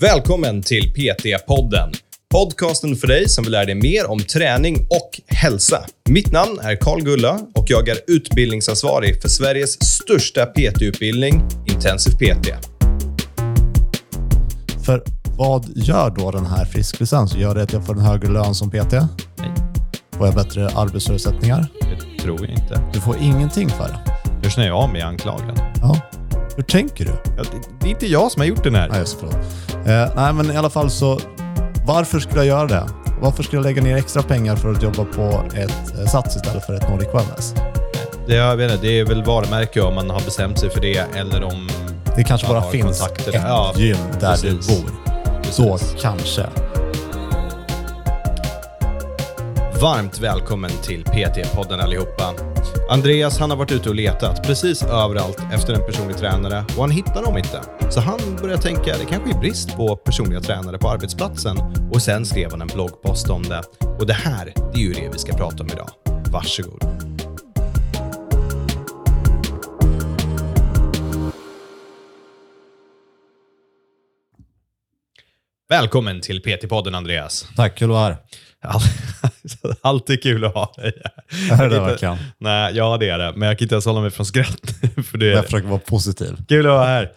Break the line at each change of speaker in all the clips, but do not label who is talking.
Välkommen till PT-podden. Podcasten för dig som vill lära dig mer om träning och hälsa. Mitt namn är Karl Gulla och jag är utbildningsansvarig för Sveriges största PT-utbildning, Intensiv PT.
För vad gör då den här frisklicensen? Gör det att jag får en högre lön som PT?
Nej.
Får jag bättre arbetsförutsättningar?
Det tror jag inte.
Du får ingenting för det.
Nu känner jag mig anklagad.
Ja. Hur tänker du?
Ja, det, det är inte jag som har gjort den här.
Nej, just det, förlåt. Eh, nej, men i alla fall så. Varför skulle jag göra det? Varför skulle jag lägga ner extra pengar för att jobba på ett eh, Sats istället för ett Nordic Wellness?
Det, jag vet inte, det är väl varumärke om man har bestämt sig för det eller om...
Det kanske
Man
bara
har
finns
kontakter
ett
där. Ja,
gym där
precis.
du bor. Så kanske.
Varmt välkommen till PT-podden allihopa. Andreas han har varit ute och letat precis överallt efter en personlig tränare och han hittar dem inte. Så han börjar tänka det kanske är brist på personliga tränare på arbetsplatsen och sen skrev han en bloggpost om det. Och det här, det är ju det vi ska prata om idag. Varsågod. Välkommen till PT-podden Andreas.
Tack, kul att vara här.
All- Alltid kul att ha dig här.
Är det det
Jag kan-
verkligen?
Nej, ja det är det. Men jag kan inte ens hålla mig från skratt. För det är
Jag försöker vara positiv.
kul att vara här.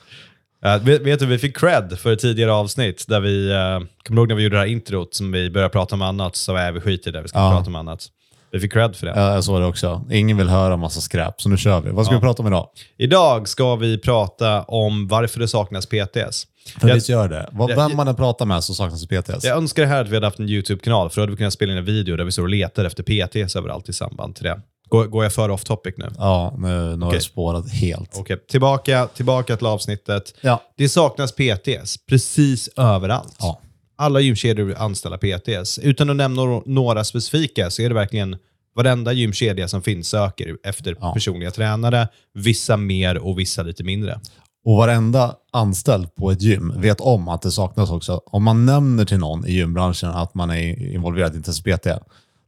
Eh, vet, vet du, vi fick cred för ett tidigare avsnitt där vi, uh, kommer du ihåg när vi gjorde det här introt som vi började prata om annat, så är vi skit i det, vi ska
Ja.
prata om annat. Vi fick cred för det.
Ja, jag såg det också. Ingen vill höra massa skräp, så nu kör vi. Vad ska vi prata om idag?
Idag ska vi prata om varför det saknas PTS.
För
Jag-
visst gör det. Vad-
jag-
Vem man än pratar med så saknas det PTS.
Jag önskar här att vi hade haft en YouTube-kanal, för då hade vi kunnat spela in en video där vi står och letar efter PTS överallt i samband till det. Går, går jag för off topic nu?
Ja, nu, nu har
Okej.
det spårat helt.
Okej, tillbaka, tillbaka till avsnittet.
Ja.
Det saknas PTS precis överallt.
Ja.
Alla gymkedjor vill anställa PTS. Utan att nämna några- några specifika så är det verkligen varenda gymkedja som finns söker efter
Ja.
personliga tränare. Vissa mer och vissa lite mindre.
Och varenda anställd på ett gym vet om att det saknas också. Om man nämner till någon i gymbranschen att man är involverad i Intensiv PT,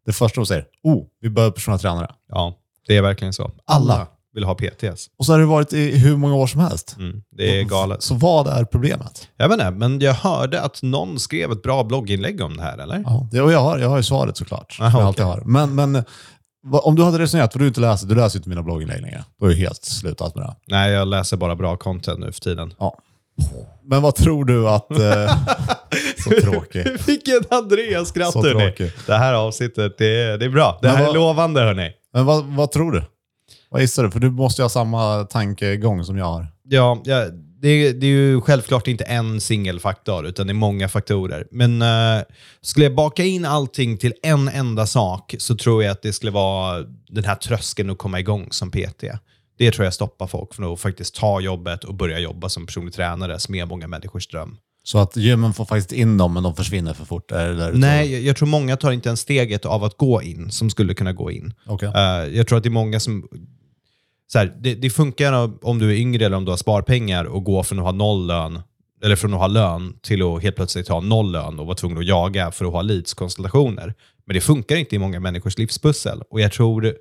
det första de säger, oh, vi behöver personliga tränare.
Ja, det är verkligen så.
Alla.
vill ha PTS.
Och så har det varit i hur många år som helst.
Mm, det är galet.
Så vad är problemet?
Jag vet inte, men jag hörde att någon skrev ett bra blogginlägg om det här, eller?
Ja, det, och jag, har, jag har ju svaret såklart. som
Aha,
jag
okej.
alltid har. Men, men vad- om du hade resonerat, för du inte läser, du läser inte mina blogginlägg längre. Då är ju helt slutat med det.
Nej, jag läser bara bra content nu för tiden.
Ja. Men vad tror du att... Eh, så tråkig.
Vilken Andreas-skratt
Så
hörni.
tråkig.
Det här avsnittet, det är, det är bra. Det
Men
här
vad-
är lovande hörni.
Men vad, vad tror du? Vad gissar du? För du måste ju ha samma tankegång som jag har.
Ja, ja det, är- det är ju självklart inte en singelfaktor, utan det är många faktorer. Men eh, skulle jag baka in allting till en enda sak så tror jag att det skulle vara den här tröskeln att komma igång som PT. Det tror jag stoppar folk från att faktiskt ta jobbet och börja jobba som personlig tränare, som är många människors dröm.
Så att gymmen får faktiskt in dem, men de försvinner för fort. Är det där du
Nej, jag, jag tror många tar inte ens steget av att gå in, som skulle kunna gå in.
tror? Okej.
Eh, jag tror att det är många som... Så här, det, det funkar om- om du är yngre eller om du har sparpengar och gå från att ha noll lön, eller från att ha lön till att helt plötsligt ha noll lön och vara tvungen att jaga för att ha leadskonstellationer. Men det funkar inte i många människors livspussel. Och jag tror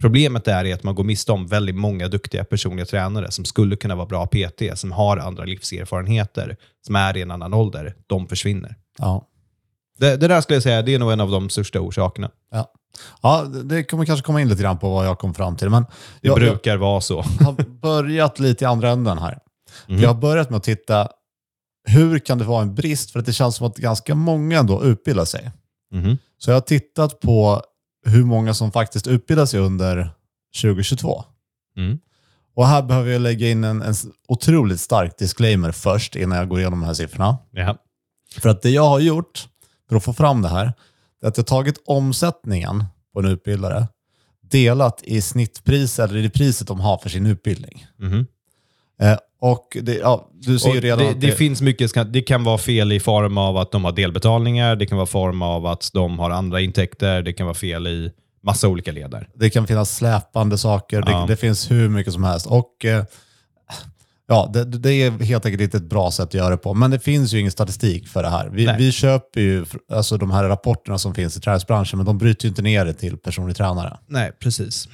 problemet där är att man går miste om väldigt många duktiga personliga tränare som skulle kunna vara bra PT, som har andra livserfarenheter, som är i en annan ålder. De försvinner.
Ja.
Det, det där skulle jag säga, det är nog en av de största orsakerna.
Ja. ja, det- det kommer kanske komma in lite grann på vad jag kom fram till. Men
Det
jag, jag
brukar vara så.
har börjat lite i andra änden här.
Mhm.
Jag har börjat med att titta, hur kan det vara en brist? För att det känns som att ganska många ändå utbildar sig.
Mhm.
Så jag har tittat på hur många som faktiskt utbildar sig under 2022.
Mm.
Och här behöver jag lägga in en, en s- otroligt stark disclaimer först innan jag går igenom de här siffrorna.
Ja.
För att det jag har gjort för att få fram det här, det är att jag har tagit omsättningen på en utbildare, delat i snittpris eller i det priset de har för sin utbildning.
Mhm.
Eh, och det, ja, du ser ju
Och
redan
det,
att
det finns mycket, ska- det kan vara fel i form av att de har delbetalningar, det kan vara form av att de har andra intäkter, det kan vara fel i massa olika leder.
Det kan finnas släpande saker.
Ja.
Det, det finns hur mycket som helst. Och eh, ja, det, det är helt enkelt inte ett bra sätt att göra det på. Men det finns ju ingen statistik för det här. Vi,
Nej.
vi köper ju fr- alltså, de här rapporterna som finns i träningsbranschen, men de bryter ju inte ner det till personlig tränare.
Nej, precis.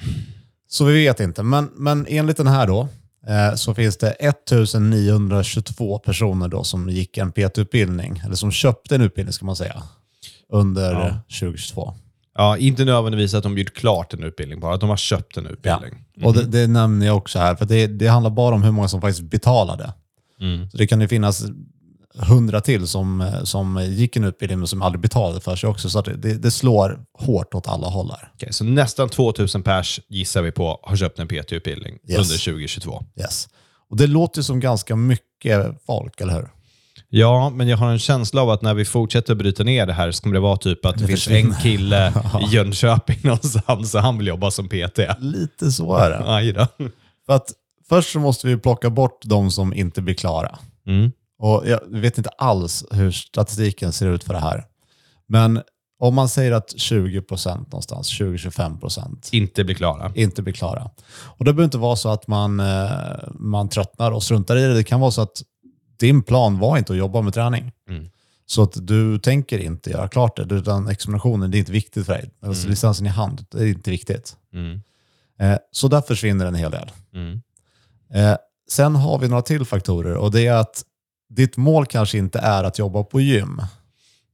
Så vi vet inte. Men, men enligt den här då, eh, så finns det 1922 personer då som gick en PT-utbildning, eller som köpte en utbildning ska man säga, under
Ja.
eh, 2022.
Ja, inte nödvändigtvis att de gjort klart en utbildning, bara att de har köpt en utbildning.
Och det, det nämner jag också här, för det, det handlar bara om hur många som faktiskt betalade.
Mm.
Så det kan ju finnas hundra till som, eh, som gick en utbildning men som aldrig betalade för sig också. Så att det, det slår hårt åt alla håll här.
Okej, så nästan 2000 pers gissar vi på har köpt en PT-utbildning
Yes.
under 2022.
Yes. Och det låter ju som ganska mycket folk, eller hur?
Ja, men jag har en känsla av att när vi fortsätter bryta ner det här så kommer det vara typ att det,
Det
finns en
försvinner.
kille i Jönköping någonstans och han vill jobba som PT.
Lite så är det.
Aj då.
För att först så måste vi plocka bort de som inte blir klara.
Mm.
Och jag vet inte alls hur statistiken ser ut för det här. Men om man säger att 20 procent någonstans, 20-25 procent
Inte bli klara.
inte blir klara. Och det behöver inte vara så att man, eh, man tröttnar och struntar i det. Det kan vara så att din plan var inte att jobba med träning.
Mm.
Så att du tänker inte göra klart det, utan examinationen det är inte viktigt för dig. Alltså licensen i hand, det är inte viktigt.
Mm.
Eh, Så där försvinner en hel del.
Mm.
Eh, Sen har vi några till faktorer och det är att ditt mål kanske inte är att jobba på gym.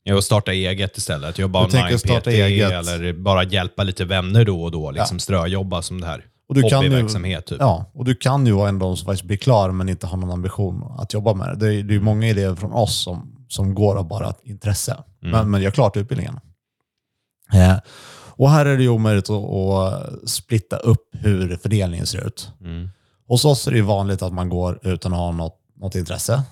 Ja, och starta eget istället. Jobba
Du tänker
online PT
starta eget.
eller bara hjälpa lite vänner då och då. Liksom ströjobba som det här.
Och du kan ju-
Hobbyverksamhet typ.
Ja, och du kan ju vara en av de som faktiskt blir klar men inte har någon ambition att jobba med det. Det är, det är ju många elever från oss som, som går av bara ett intresse,
Mm.
men, men gör klart utbildningen. Eh, och här är det ju omöjligt att, att splitta upp hur fördelningen ser ut.
Mm.
Hos oss är det ju vanligt att man går utan att ha något, något intresse.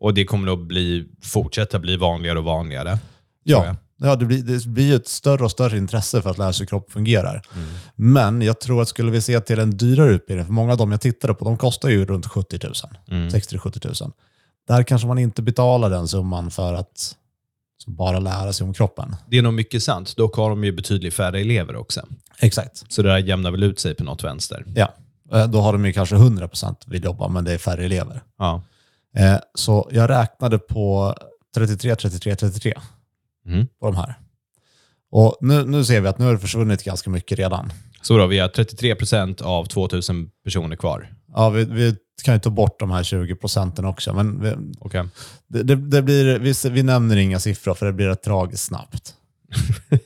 Och det kommer att bli, fortsätta bli vanligare och vanligare. Tror
Ja,
jag.
ja det, blir, det blir ju ett större och större intresse för att lära sig hur kropp fungerar.
Mm.
Men jag tror att skulle vi se till en dyrare utbildning, för många av dem jag tittade på, de kostar ju runt 70 000.
Mm.
60-70 000. Där kanske man inte betalar den summan för att bara lära sig om kroppen.
Det är nog mycket sant. Dock har de ju betydligt färre elever också.
Exakt.
Så det där jämnar väl ut sig på något vänster.
Ja. Eh, Då har de ju kanske 100% vill jobba, men det är färre elever.
Ja.
Eh, Så jag räknade på 33, 33, 33
Mm.
på de här. Och nu, nu ser vi att nu har det försvunnit ganska mycket redan.
Så då, vi har 33 procent av 2000 personer kvar.
Ja, vi, vi kan ju ta bort de här 20 procenten också, men vi,
Okej.
det, det, det blir, vi, vi nämner inga siffror för det blir rätt tragiskt snabbt.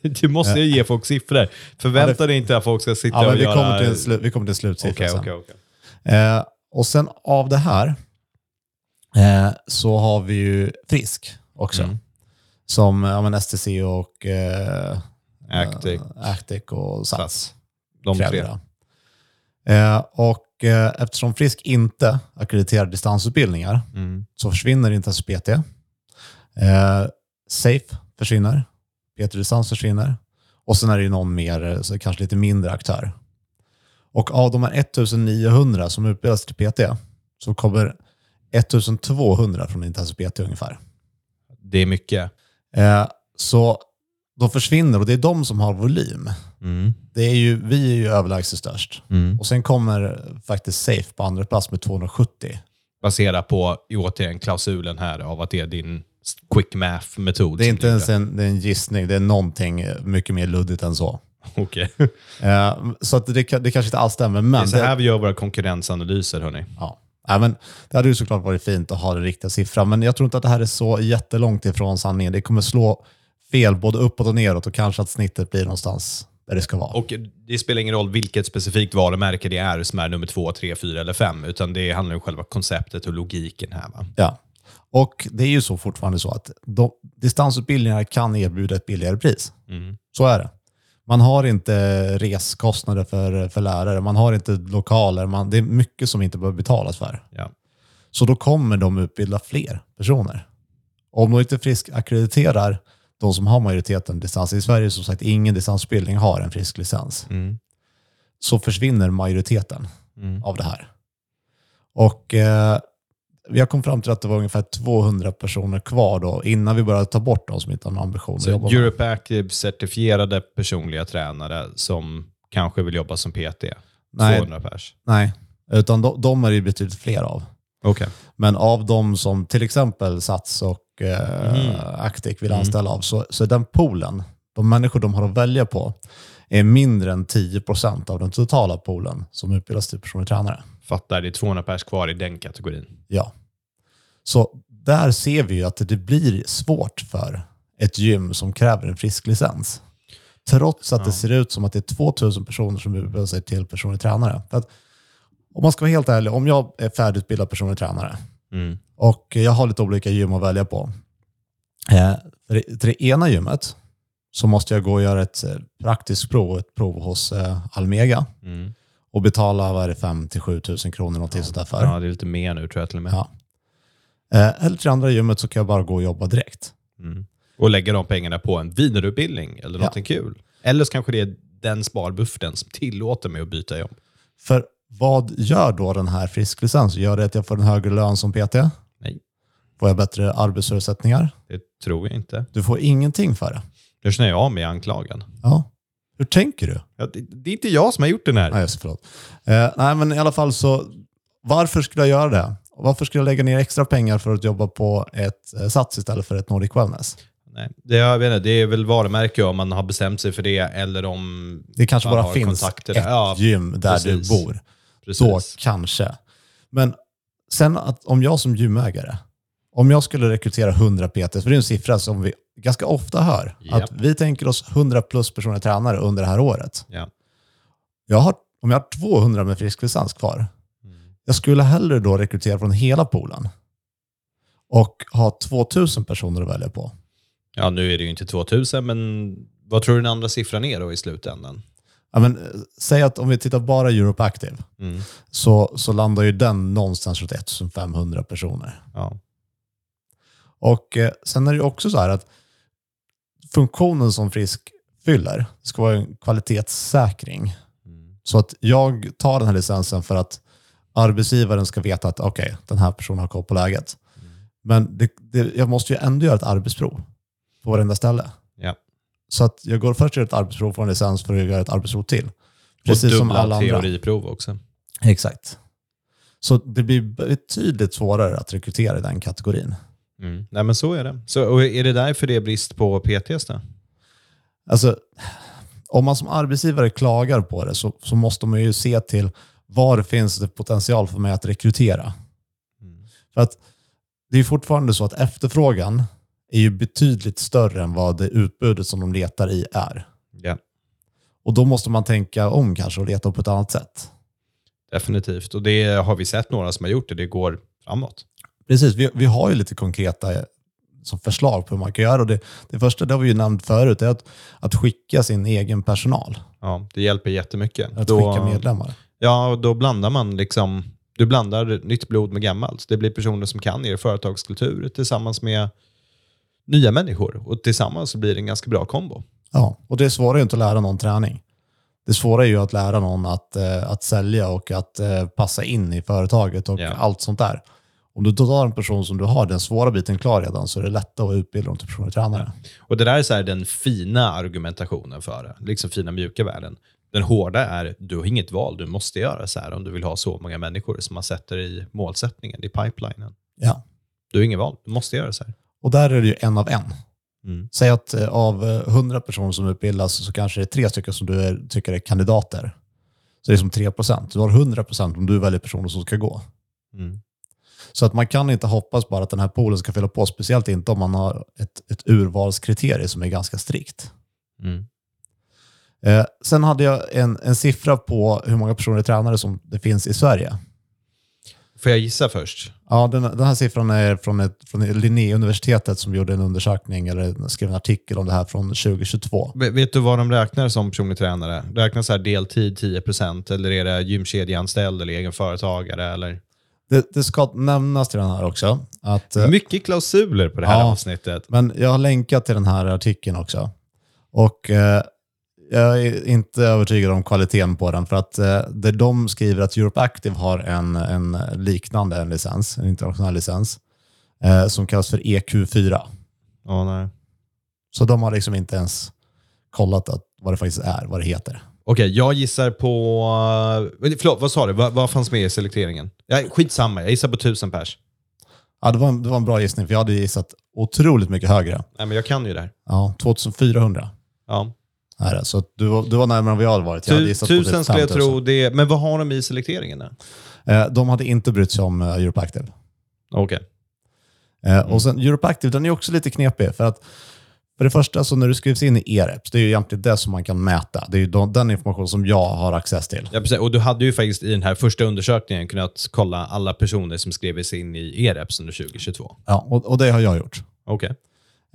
Du måste ju ge folk siffror. Förvänta dig inte att folk ska sitta
Ja, men
och
vi,
göra...
kommer till en alltså. slu, vi kommer till en slutsiffra
Okej,
sen.
okej, okej.
Eh, och sen av det här eh, så har vi ju Frisk också.
Mm.
Som ja, men STC och eh,
Actic,
eh, Actic och Sats.
Sats. De
kräver
tre.
det. Eh, och eh, eftersom Frisk inte ackrediterar distansutbildningar
Mm.
så försvinner Intens PT. Eh, Safe försvinner. Peter Distans försvinner. Och sen är det ju någon mer, eh, så kanske lite mindre aktör. Och av de här 1900 som utbildas till PT så kommer 1200 från Intens PT ungefär.
Det är mycket.
Eh, så de försvinner och det är de som har volym.
Mm.
Det är ju, vi är ju överlägset störst.
Mm.
Och sen kommer faktiskt Safe på andra plats med 270.
Baserat på, återigen, klausulen här av att det är din quick math-metod.
Det är
som
inte
du
ens
gör.
en, det är en gissning, det är någonting eh, mycket mer luddigt än så.
Okej.
Eh, så att det, ka- det kanske inte alls stämmer, men
Det är så här
det,
vi gör våra konkurrensanalyser, hörni.
ja. Nej, men det hade ju såklart varit fint att ha den riktiga siffran, men jag tror inte att det här är så jättelångt ifrån sanningen. Det kommer slå fel både uppåt och neråt och kanske att snittet blir någonstans där det ska vara.
Och det spelar ingen roll vilket specifikt varumärke det är som är nummer två, tre, fyra eller fem, utan det handlar om själva konceptet och logiken här. Va?
Ja. Och det är ju så fortfarande så att de, distansutbildningar kan erbjuda ett billigare pris.
Mm.
Så är det. Man har inte reskostnader för, för lärare, man har inte lokaler, man, det är mycket som inte behöver betalas för.
Ja.
Så då kommer de utbilda fler personer. Om de inte frisk akkrediterar de som har majoriteten distans, i Sverige är det som sagt ingen distansutbildning har en frisk licens,
Mm.
så försvinner majoriteten
Mm.
av det här. Och eh, jag kom fram till att det var ungefär 200 personer kvar då, innan vi började ta bort de som inte har någon ambition att
Så
jobba med.
Europe Active-certifierade personliga tränare som kanske vill jobba som PT.
Nej.
200 pers.
Nej, utan de, de är det ju betydligt fler av.
Okej.
Men av de som till exempel Sats och eh, Actic vill anställa av, så, så är den poolen, de människor de har att välja på, är mindre än 10 procent av den totala poolen som utbildas till personlig tränare.
Fattar, det är 200 pers kvar i den kategorin.
Ja. Så där ser vi ju att det blir svårt för ett gym som kräver en frisk licens. Trots att
Ja.
det ser ut som att det är 2000 personer som utbildar sig till personlig tränare. För att, om man ska vara helt ärlig, om jag är färdigutbildad personlig tränare
Mm.
och jag har lite olika gym att välja på. Eh, för det- till det ena gymmet så måste jag gå och göra ett eh, praktiskt prov, ett prov hos eh, Almega
Mm.
och betala vad är det, 5 till 7 000 kronor någonting sådär för.
Ja, det är lite mer nu tror jag till och med.
Ja. Eh, eller till andra gymmet så kan jag bara gå och jobba direkt.
Mm. Och lägga de pengarna på en vidareutbildning eller någonting kul. Eller så kanske det är den sparbufferten som tillåter mig att byta jobb.
För vad gör då den här frisklicensen? Gör det att jag får en högre lön som PT?
Nej.
Får jag bättre arbetsförutsättningar?
Det tror jag inte.
Du får ingenting för det.
Nu känner jag mig anklagad.
Ja. Hur tänker du?
Ja, det, det är inte jag som har gjort den här.
Nej, just, det, förlåt. Eh, nej, men i alla fall så, varför skulle jag göra det? Och Varför skulle jag lägga ner extra pengar för att jobba på ett eh, Sats istället för ett Nordic Wellness?
Nej. Det, jag vet inte, det är väl varumärke om man har bestämt sig för det eller om...
Det kanske
Man
bara
har
finns ett
kontakter där. Ja,
gym där
precis.
du bor. Då
Precis.
kanske. Men sen att om jag som gymägare, om jag skulle rekrytera 100 PT, för det är en siffra som vi ganska ofta hör,
Japp.
att vi tänker oss 100 plus personliga tränare under det här året.
Ja.
Jag har, om jag har 200 med frisk licens kvar,
Mm.
jag skulle hellre då rekrytera från hela poolen och ha 2000 personer att välja på.
Ja, nu är det ju inte 2000, men vad tror du den andra siffran är då i slutändan?
Ja, men, eh, säg att om vi tittar bara Europe Active
Mm.
så, så landar ju den någonstans runt 1500 personer.
Ja.
Och eh, sen är det ju också så här att funktionen som Frisk fyller ska vara en kvalitetssäkring.
Mm.
Så att jag tar den här licensen för att arbetsgivaren ska veta att okej, den här personen har koll på läget. Men det, det, jag måste ju ändå göra ett arbetsprov på varenda ställe.
Ja.
Så att jag går först och gör ett arbetsprov, får en licens för att göra ett arbetsprov till.
och
Precis som
dubbla
alla andra.
teoriprov också.
Exakt. Så det blir betydligt svårare att rekrytera i den kategorin.
Mm. Nej, men så är det. Så, och är det därför det är brist på PTs då?
Alltså, om man som arbetsgivare klagar på det så, så måste man ju se till var finns det potential för mig att rekrytera.
Mm.
För att det är ju fortfarande så att efterfrågan är ju betydligt större än vad det utbudet som de letar i är.
Ja.
Och då måste man tänka om kanske och leta på ett annat sätt.
Definitivt. Och det har vi sett några som har gjort det. Det går framåt.
Precis, vi, vi har ju lite konkreta eh, som förslag på hur man kan göra. Och det, det första, det har vi ju nämnt förut, är att, att skicka sin egen personal.
Ja, det hjälper jättemycket.
Att skicka medlemmar.
ja, och då blandar man liksom... Du blandar nytt blod med gammalt. Det blir personer som kan er företagskultur tillsammans med nya människor. Och tillsammans så blir det en ganska bra kombo.
Ja, och det svåra är ju inte att lära någon träning. Det svåra är ju att lära någon att, eh, att sälja och att eh, passa in i företaget och
Ja.
allt sånt där. Om du då tar en person som du har den svåra biten klar redan så är det lättare att utbilda dem till personlig tränare.
Och det där är så här den fina argumentationen för det. Liksom fina mjuka värden. Den hårda är, du har inget val, du måste göra så här om du vill ha så många människor som man sätter i målsättningen, i pipelinen.
Ja.
Du har inget val, du måste göra så här.
Och där är det ju en av en.
Mm.
Säg att eh, av eh, 100 personer som utbildas så kanske det är tre stycken som du är, tycker är kandidater. Så det är som 3 procent. Du har 100 procent om du väljer personer som ska gå.
Mm.
Så att man kan inte hoppas bara att den här poolen ska fylla på, speciellt inte om man har ett, ett urvalskriterie som är ganska strikt.
Mm.
Eh, sen hade jag en, en siffra på hur många personliga tränare som det finns i Sverige.
Får jag gissa först?
Ja, den, den här siffran är från, ett, från Linnéuniversitetet som gjorde en undersökning eller skrev en artikel om det här från 2022.
V- Vet du vad de räknar som personlig tränare? Räknas så här deltid 10% eller är det gymkedjeanställd eller egen företagare? Eller?
Det, det ska nämnas till den här också. Att, eh,
Mycket klausuler på det här
Ja.
avsnittet.
men jag har länkat till den här artikeln också. Och eh, jag är inte övertygad om kvaliteten på den för att eh, det de skriver att Europe Active har en, en liknande en licens, en internationell licens, eh, som kallas för EQ4.
Ja, nej.
Så de har liksom inte ens kollat att, vad det faktiskt är, vad det heter.
Okej, jag gissar på... eh, Förlåt, vad sa du? Vad, vad fanns med i selekteringen? Ja, skitsamma, jag gissar på 1000 pers.
Ja, det, var en, det var en bra gissning, för jag hade gissat otroligt mycket högre.
Nej, men jag kan ju det här.
Ja, 2400
Ja.
är det. Så att du, var- du var närmare än vad jag hade varit. Jag hade
Tu,
gissat på typ
tusen skulle jag
5000.
tro. Det, men vad har de i selekteringen? Då?
Eh, De hade inte brytt sig om eh, Europe Active.
Okej.
Eh, Och sen Europe Active, den är också lite knepig. För att för det första, så när du skrivs in i EREPS, det är ju egentligen det som man kan mäta. Det är ju de- den information som jag har access till.
Ja, precis. Och du hade ju faktiskt i den här första undersökningen kunnat kolla alla personer som skrevs in i E EREPS under 2022.
Ja, och, och det har jag gjort.
Okej.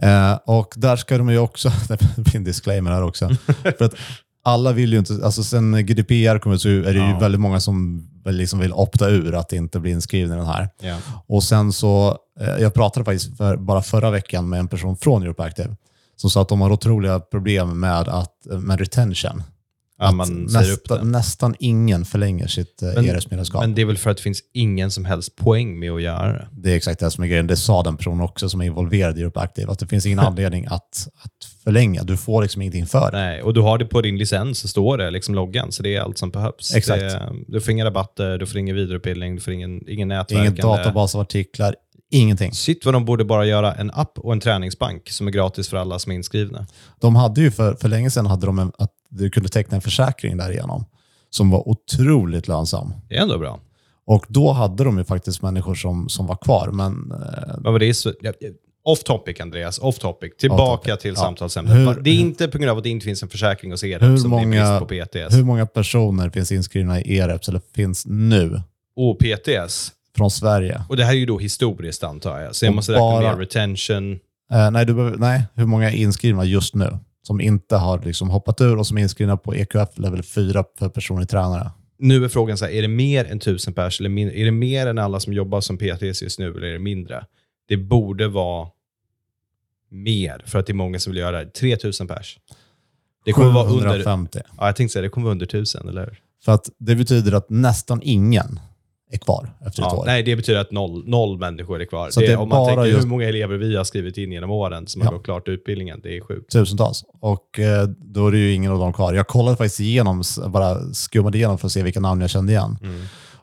Eh, och där ska de ju också, det blir en disclaimer här också, för att alla vill ju inte, alltså sen GDPR kom ut så är det ju
Ja.
väldigt många som väl liksom vill opta ur att inte bli inskrivna i den här.
Ja.
Och sen så, eh, jag pratade faktiskt för, bara förra veckan med en person från Europe Active som sa att de har otroliga problem med, att, med retention.
Ja,
att
man säger upp
nästa,
det.
nästan ingen förlänger sitt eh,
Men-
ERS-medlemskap.
Men det är väl för att det finns ingen som helst poäng med att göra det.
Det är exakt det som är grejen. Det sa den personen också som är involverad i Europe Active, att det finns ingen anledning att, att förlänga. Du får liksom ingenting för det.
Nej, och du har det på din licens, så står det liksom loggan, så det är allt som behövs.
Exakt.
Det, du får inga rabatter, du får ingen vidareutbildning, du får ingen, ingen
Ingen
nätverkande.
databas av artiklar, ingenting.
Shit vad de borde bara göra en app och en träningsbank som är gratis för alla som är inskrivna.
De hade ju för, för länge sedan hade de en, att du kunde teckna en försäkring därigenom som var otroligt lönsam.
Det är ändå bra.
Och då hade de ju faktiskt människor som, som var kvar, men eh,
Vad var det? Så, ja, ja, off topic, Andreas. Off topic. Tillbaka till
Ja.
samtalsämnet.
Hur-
det är inte på grund av att det inte finns en försäkring hos er
Hur
som det är
många-
brist på PTS.
hur många personer finns inskrivna i EREPS eller finns nu
Och PTS.
från Sverige?
Och det här är ju då historiskt antar jag, så jag
Och
måste räkna
bara-
med retention.
Eh, nej, du behöver, nej, hur många är inskrivna just nu som inte har liksom hoppat ur och som är inskrivna på EQF level 4 för personlig tränare?
Nu är frågan så här, är det mer än tusen pers eller min- är det mer än alla som jobbar som PTS just nu eller är det mindre? Det borde vara mer för att det är många som vill göra det. 3000 pers. Det kommer vara under, ja,
750.
jag tänkte säga det kommer vara under 1000, eller hur?
För att det betyder att nästan ingen är kvar efter ett
Ja,
år.
nej, det betyder att noll, noll människor är kvar.
Så
det,
det är
om man
bara
tänker
just-
hur många elever vi har skrivit in genom åren som har
Ja.
gått klart utbildningen, det är sjukt.
Tusentals. Och eh, då är det ju ingen av dem kvar. Jag kollade faktiskt igenom, s- bara skummade igenom för att se vilka namn jag kände igen.
Mm.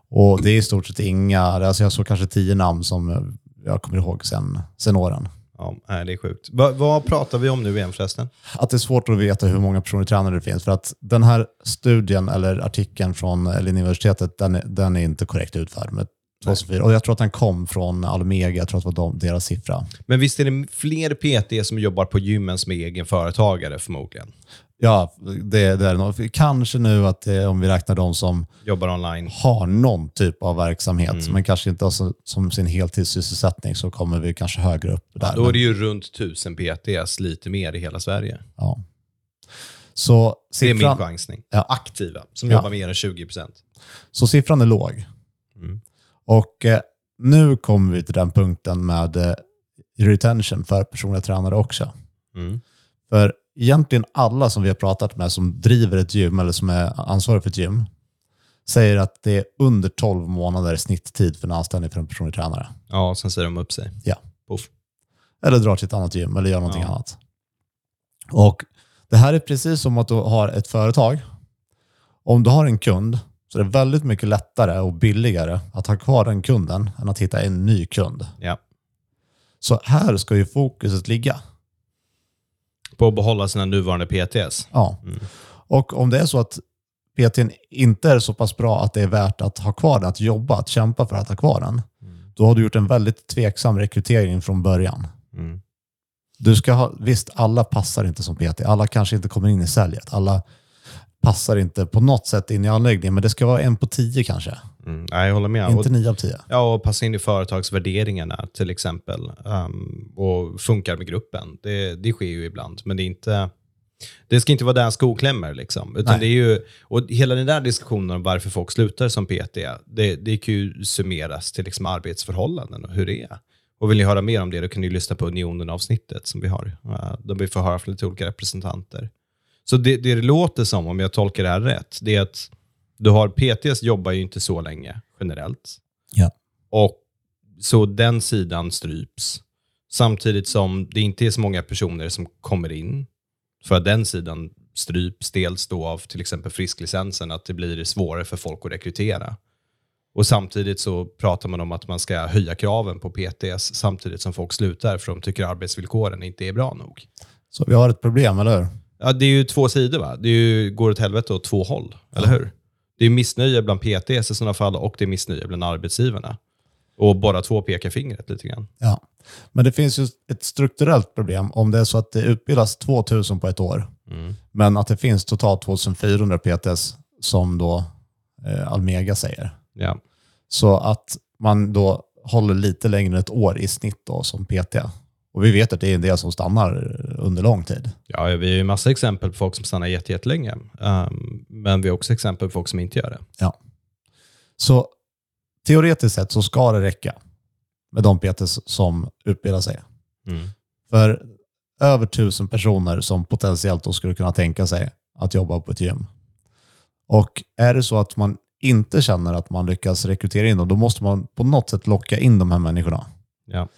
Och det är i stort sett inga, alltså jag såg kanske tio namn som eh, jag kommer ihåg sen, sen åren.
Ja, nej, det är sjukt. Va, vad pratar vi om nu igen förresten?
Att det är svårt att veta hur många personer tränare det finns. För att den här studien eller artikeln från eh, Linnéuniversitetet, den, är- den är inte korrekt utförd. Med 2004. Och jag tror att den kom från Almega, jag tror att det var de, deras siffra.
Men visst är det fler PT som jobbar på gymmen som är egenföretagare förmodligen?
Ja, det, det är nog. Kanske nu att det, om vi räknar de som
Jobbar online.
har någon typ av verksamhet,
Mm.
men kanske inte har som, som sin heltidssysselsättning, så kommer vi kanske högre upp där.
Då är det ju runt 1000 PTs, lite mer i hela Sverige.
ja. så,
Det är min
siffran,
chansning.
Ja.
Aktiva, som
Ja.
jobbar mer än 20 procent.
så siffran är låg.
Mm.
Och eh, nu kommer vi till den punkten med eh, retention för personliga tränare också.
Mm.
För egentligen alla som vi har pratat med som driver ett gym eller som är ansvariga för ett gym säger att det är under 12 månader i snitttid för en anställning för en personlig tränare.
Ja, sen säger de upp sig.
Ja.
Puff.
Eller drar till ett annat gym eller gör någonting
Ja.
annat. Och Det här är precis som att du har ett företag. Om du har en kund så är det väldigt mycket lättare och billigare att ha kvar den kunden än att hitta en ny kund.
Ja.
Så här ska ju fokuset ligga.
På att behålla sina nuvarande PTs.
Ja.
Mm.
Och om det är så att PTn inte är så pass bra att det är värt att ha kvar den, att jobba, att kämpa för att ha kvar den, då har du gjort en väldigt tveksam rekrytering från början.
Mm.
Du ska ha, visst, alla passar inte som PT. Alla kanske inte kommer in i säljet. Alla passar inte på något sätt in i anläggningen, men det ska vara en på tio kanske.
Mm. Nej, jag håller med. Och-
inte nio av tio.
Ja, och passa in i företagsvärderingarna till exempel. ehm, och funkar med gruppen. Det, det sker ju ibland, men det är inte... Det ska inte vara där skon klämmer. Liksom. Utan
Nej.
det är ju, och hela den där diskussionen om varför folk slutar som PT, det, det kan ju summeras till liksom arbetsförhållanden och hur det är. Och vill ni höra mer om det, då kan ni lyssna på Unionen-avsnittet som vi har. eh, Där vi får höra från lite olika representanter. Så det, det det låter som, om jag tolkar det här rätt, det är att du har PTs jobbar ju inte så länge generellt. Och så den sidan stryps. Samtidigt som det inte är så många personer som kommer in. För att den sidan stryps dels då av till exempel frisklicensen, att det blir svårare för folk att rekrytera. Och samtidigt så pratar man om att man ska höja kraven på PTS samtidigt som folk slutar för de tycker arbetsvillkoren inte är bra nog.
Så vi har ett problem, eller hur?
Ja, det är ju två sidor va? Det är ju, går åt helvete åt två håll, eller hur? Det är missnöje bland PTs i sådana fall och det är missnöje bland arbetsgivarna. Och bara två pekar fingret lite grann.
Ja. Men det finns ju ett strukturellt problem om det är så att det utbildas 2000 på ett år, men att det finns totalt 2400 PTs som då eh, Almega säger.
Ja.
Så att man då håller lite längre än ett år i snitt då som PT. Och vi vet att det är en del som stannar under lång tid.
Ja, vi har ju massa exempel på folk som stannar jätte- jättelänge. Ehm, men vi har också exempel på folk som inte gör det.
Så teoretiskt sett så ska det räcka med de PTs som utbildar sig. För över tusen personer som potentiellt då skulle kunna tänka sig att jobba på ett gym. Och är det så att man inte känner att man lyckas rekrytera in dem, då måste man på något sätt locka in de här människorna.
Ja.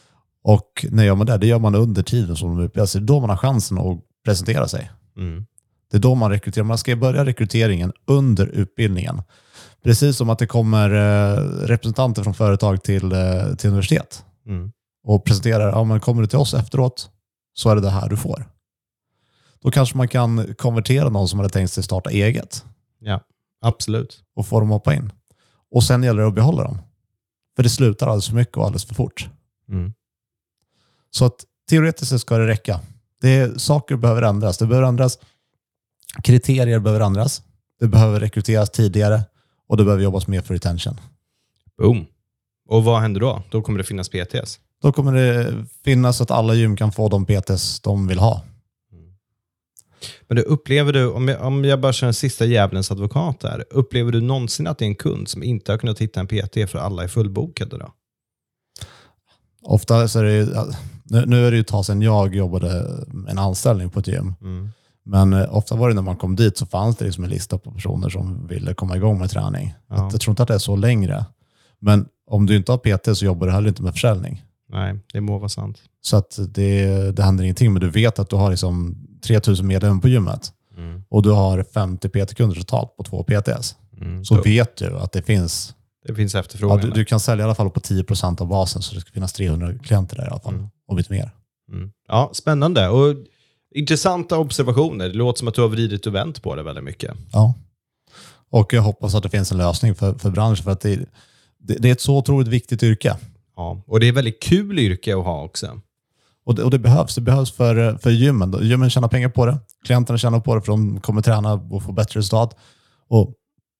Och när gör man det? Det gör man under tiden som de utbildar sig. Det är då man har chansen att presentera sig.
Mm.
Det är då man rekryterar. Man ska börja rekryteringen under utbildningen. Precis som att det kommer eh, representanter från företag till, eh, till universitet
Mm.
och presenterar, ja men kommer du till oss efteråt så är det det här du får. Då kanske man kan konvertera någon som hade tänkt sig starta eget
Absolut.
och få dem att hoppa in. Och sen gäller det att behålla dem. För det slutar alldeles för mycket och alldeles för fort.
Mm.
Så att teoretiskt sett ska det räcka. Det är, saker behöver ändras. Det behöver ändras. Kriterier behöver ändras. Det behöver rekryteras tidigare och det behöver jobbas mer för retention.
Boom. Och vad händer då? Då kommer det finnas PTs.
Då kommer det finnas att alla gym kan få de PTs de vill ha.
Men du, upplever du, om jag, om jag bara kör en sista djävulens advokat där, upplever du någonsin att det är en kund som inte har kunnat hitta en PT för alla är fullbokade då?
Ofta så är det ju, nu, nu är det ju ett tag sedan jag jobbade med en anställning på ett gym.
Mm.
Men eh, ofta var det när man kom dit så fanns det liksom en lista på personer som ville komma igång med träning.
Ja.
Att, jag tror inte att det är så längre. Men om du inte har PT så jobbar du heller inte med försäljning.
Nej, det må vara sant.
Så att det, det händer ingenting. Men du vet att du har liksom 3000 medlemmar på gymmet och du har 50 PT-kunder totalt på två PTs.
Mm.
Så
Så
vet du att det finns,
det finns
ja,
efterfrågan.
du, du kan sälja i alla fall på 10% av basen så det ska finnas 300 klienter där i alla fall.
Mm.
Om inte mer.
Mm. Ja, spännande. Och intressanta observationer. Det låter som att du har vridit och vänt på det väldigt mycket.
Ja. Och jag hoppas att det finns en lösning för, för branschen för att det, det, det är ett så otroligt viktigt yrke.
Ja. Och det är ett väldigt kul yrke att ha också.
Och det, och det behövs. Det behövs för, för gymmen. Gymmen tjänar pengar på det. Klienterna tjänar på det för de kommer träna och få bättre resultat. Och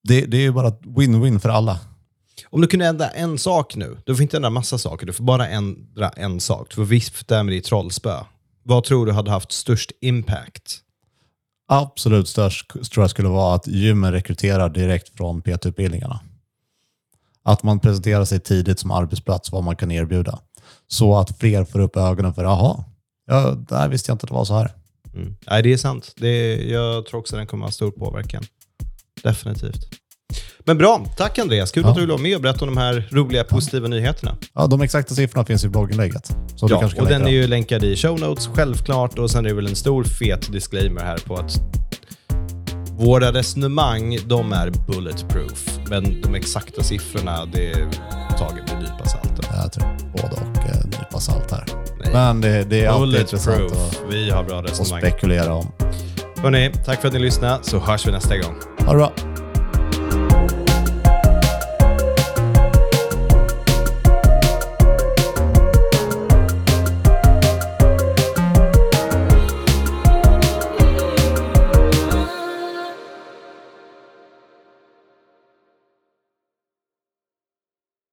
det, det är ju bara ett win-win för alla.
Om du kunde ändra en sak nu, du får inte ändra massa saker, du får bara ändra en sak. Du får vifta med ditt trollspö. Vad tror du hade haft störst impact?
Absolut störst tror jag skulle vara att gymmen rekryterar direkt från PT-utbildningarna. Att man presenterar sig tidigt som arbetsplats, vad man kan erbjuda. Så att fler får upp ögonen för, jaha, ja, där visste jag inte att det var så här.
Mm. Nej, det är sant. Det, jag tror också den kommer ha stor påverkan. Definitivt. Men bra. Tack Andreas. Kul
Ja.
att du ville vara med och berätta om de här roliga, positiva nyheterna.
Ja, de exakta siffrorna finns i blogginlägget. Så du
Ja,
kanske kan
och den är
länka
ju länkad i show notes, självklart. Och sen är det väl en stor fet disclaimer här på att våra resonemang, de är bulletproof. Men de exakta siffrorna, det är taget med en nypa salt.
den. Eh, Jag tror både och eh, nypa salt här.
Nej.
Men det, det är alltid intressant
Bulletproof. Oh
att,
Vi har bra
att
resonemang.
spekulera om.
Hörrni, tack för att ni lyssnade, så hörs vi nästa gång.
Ha det bra.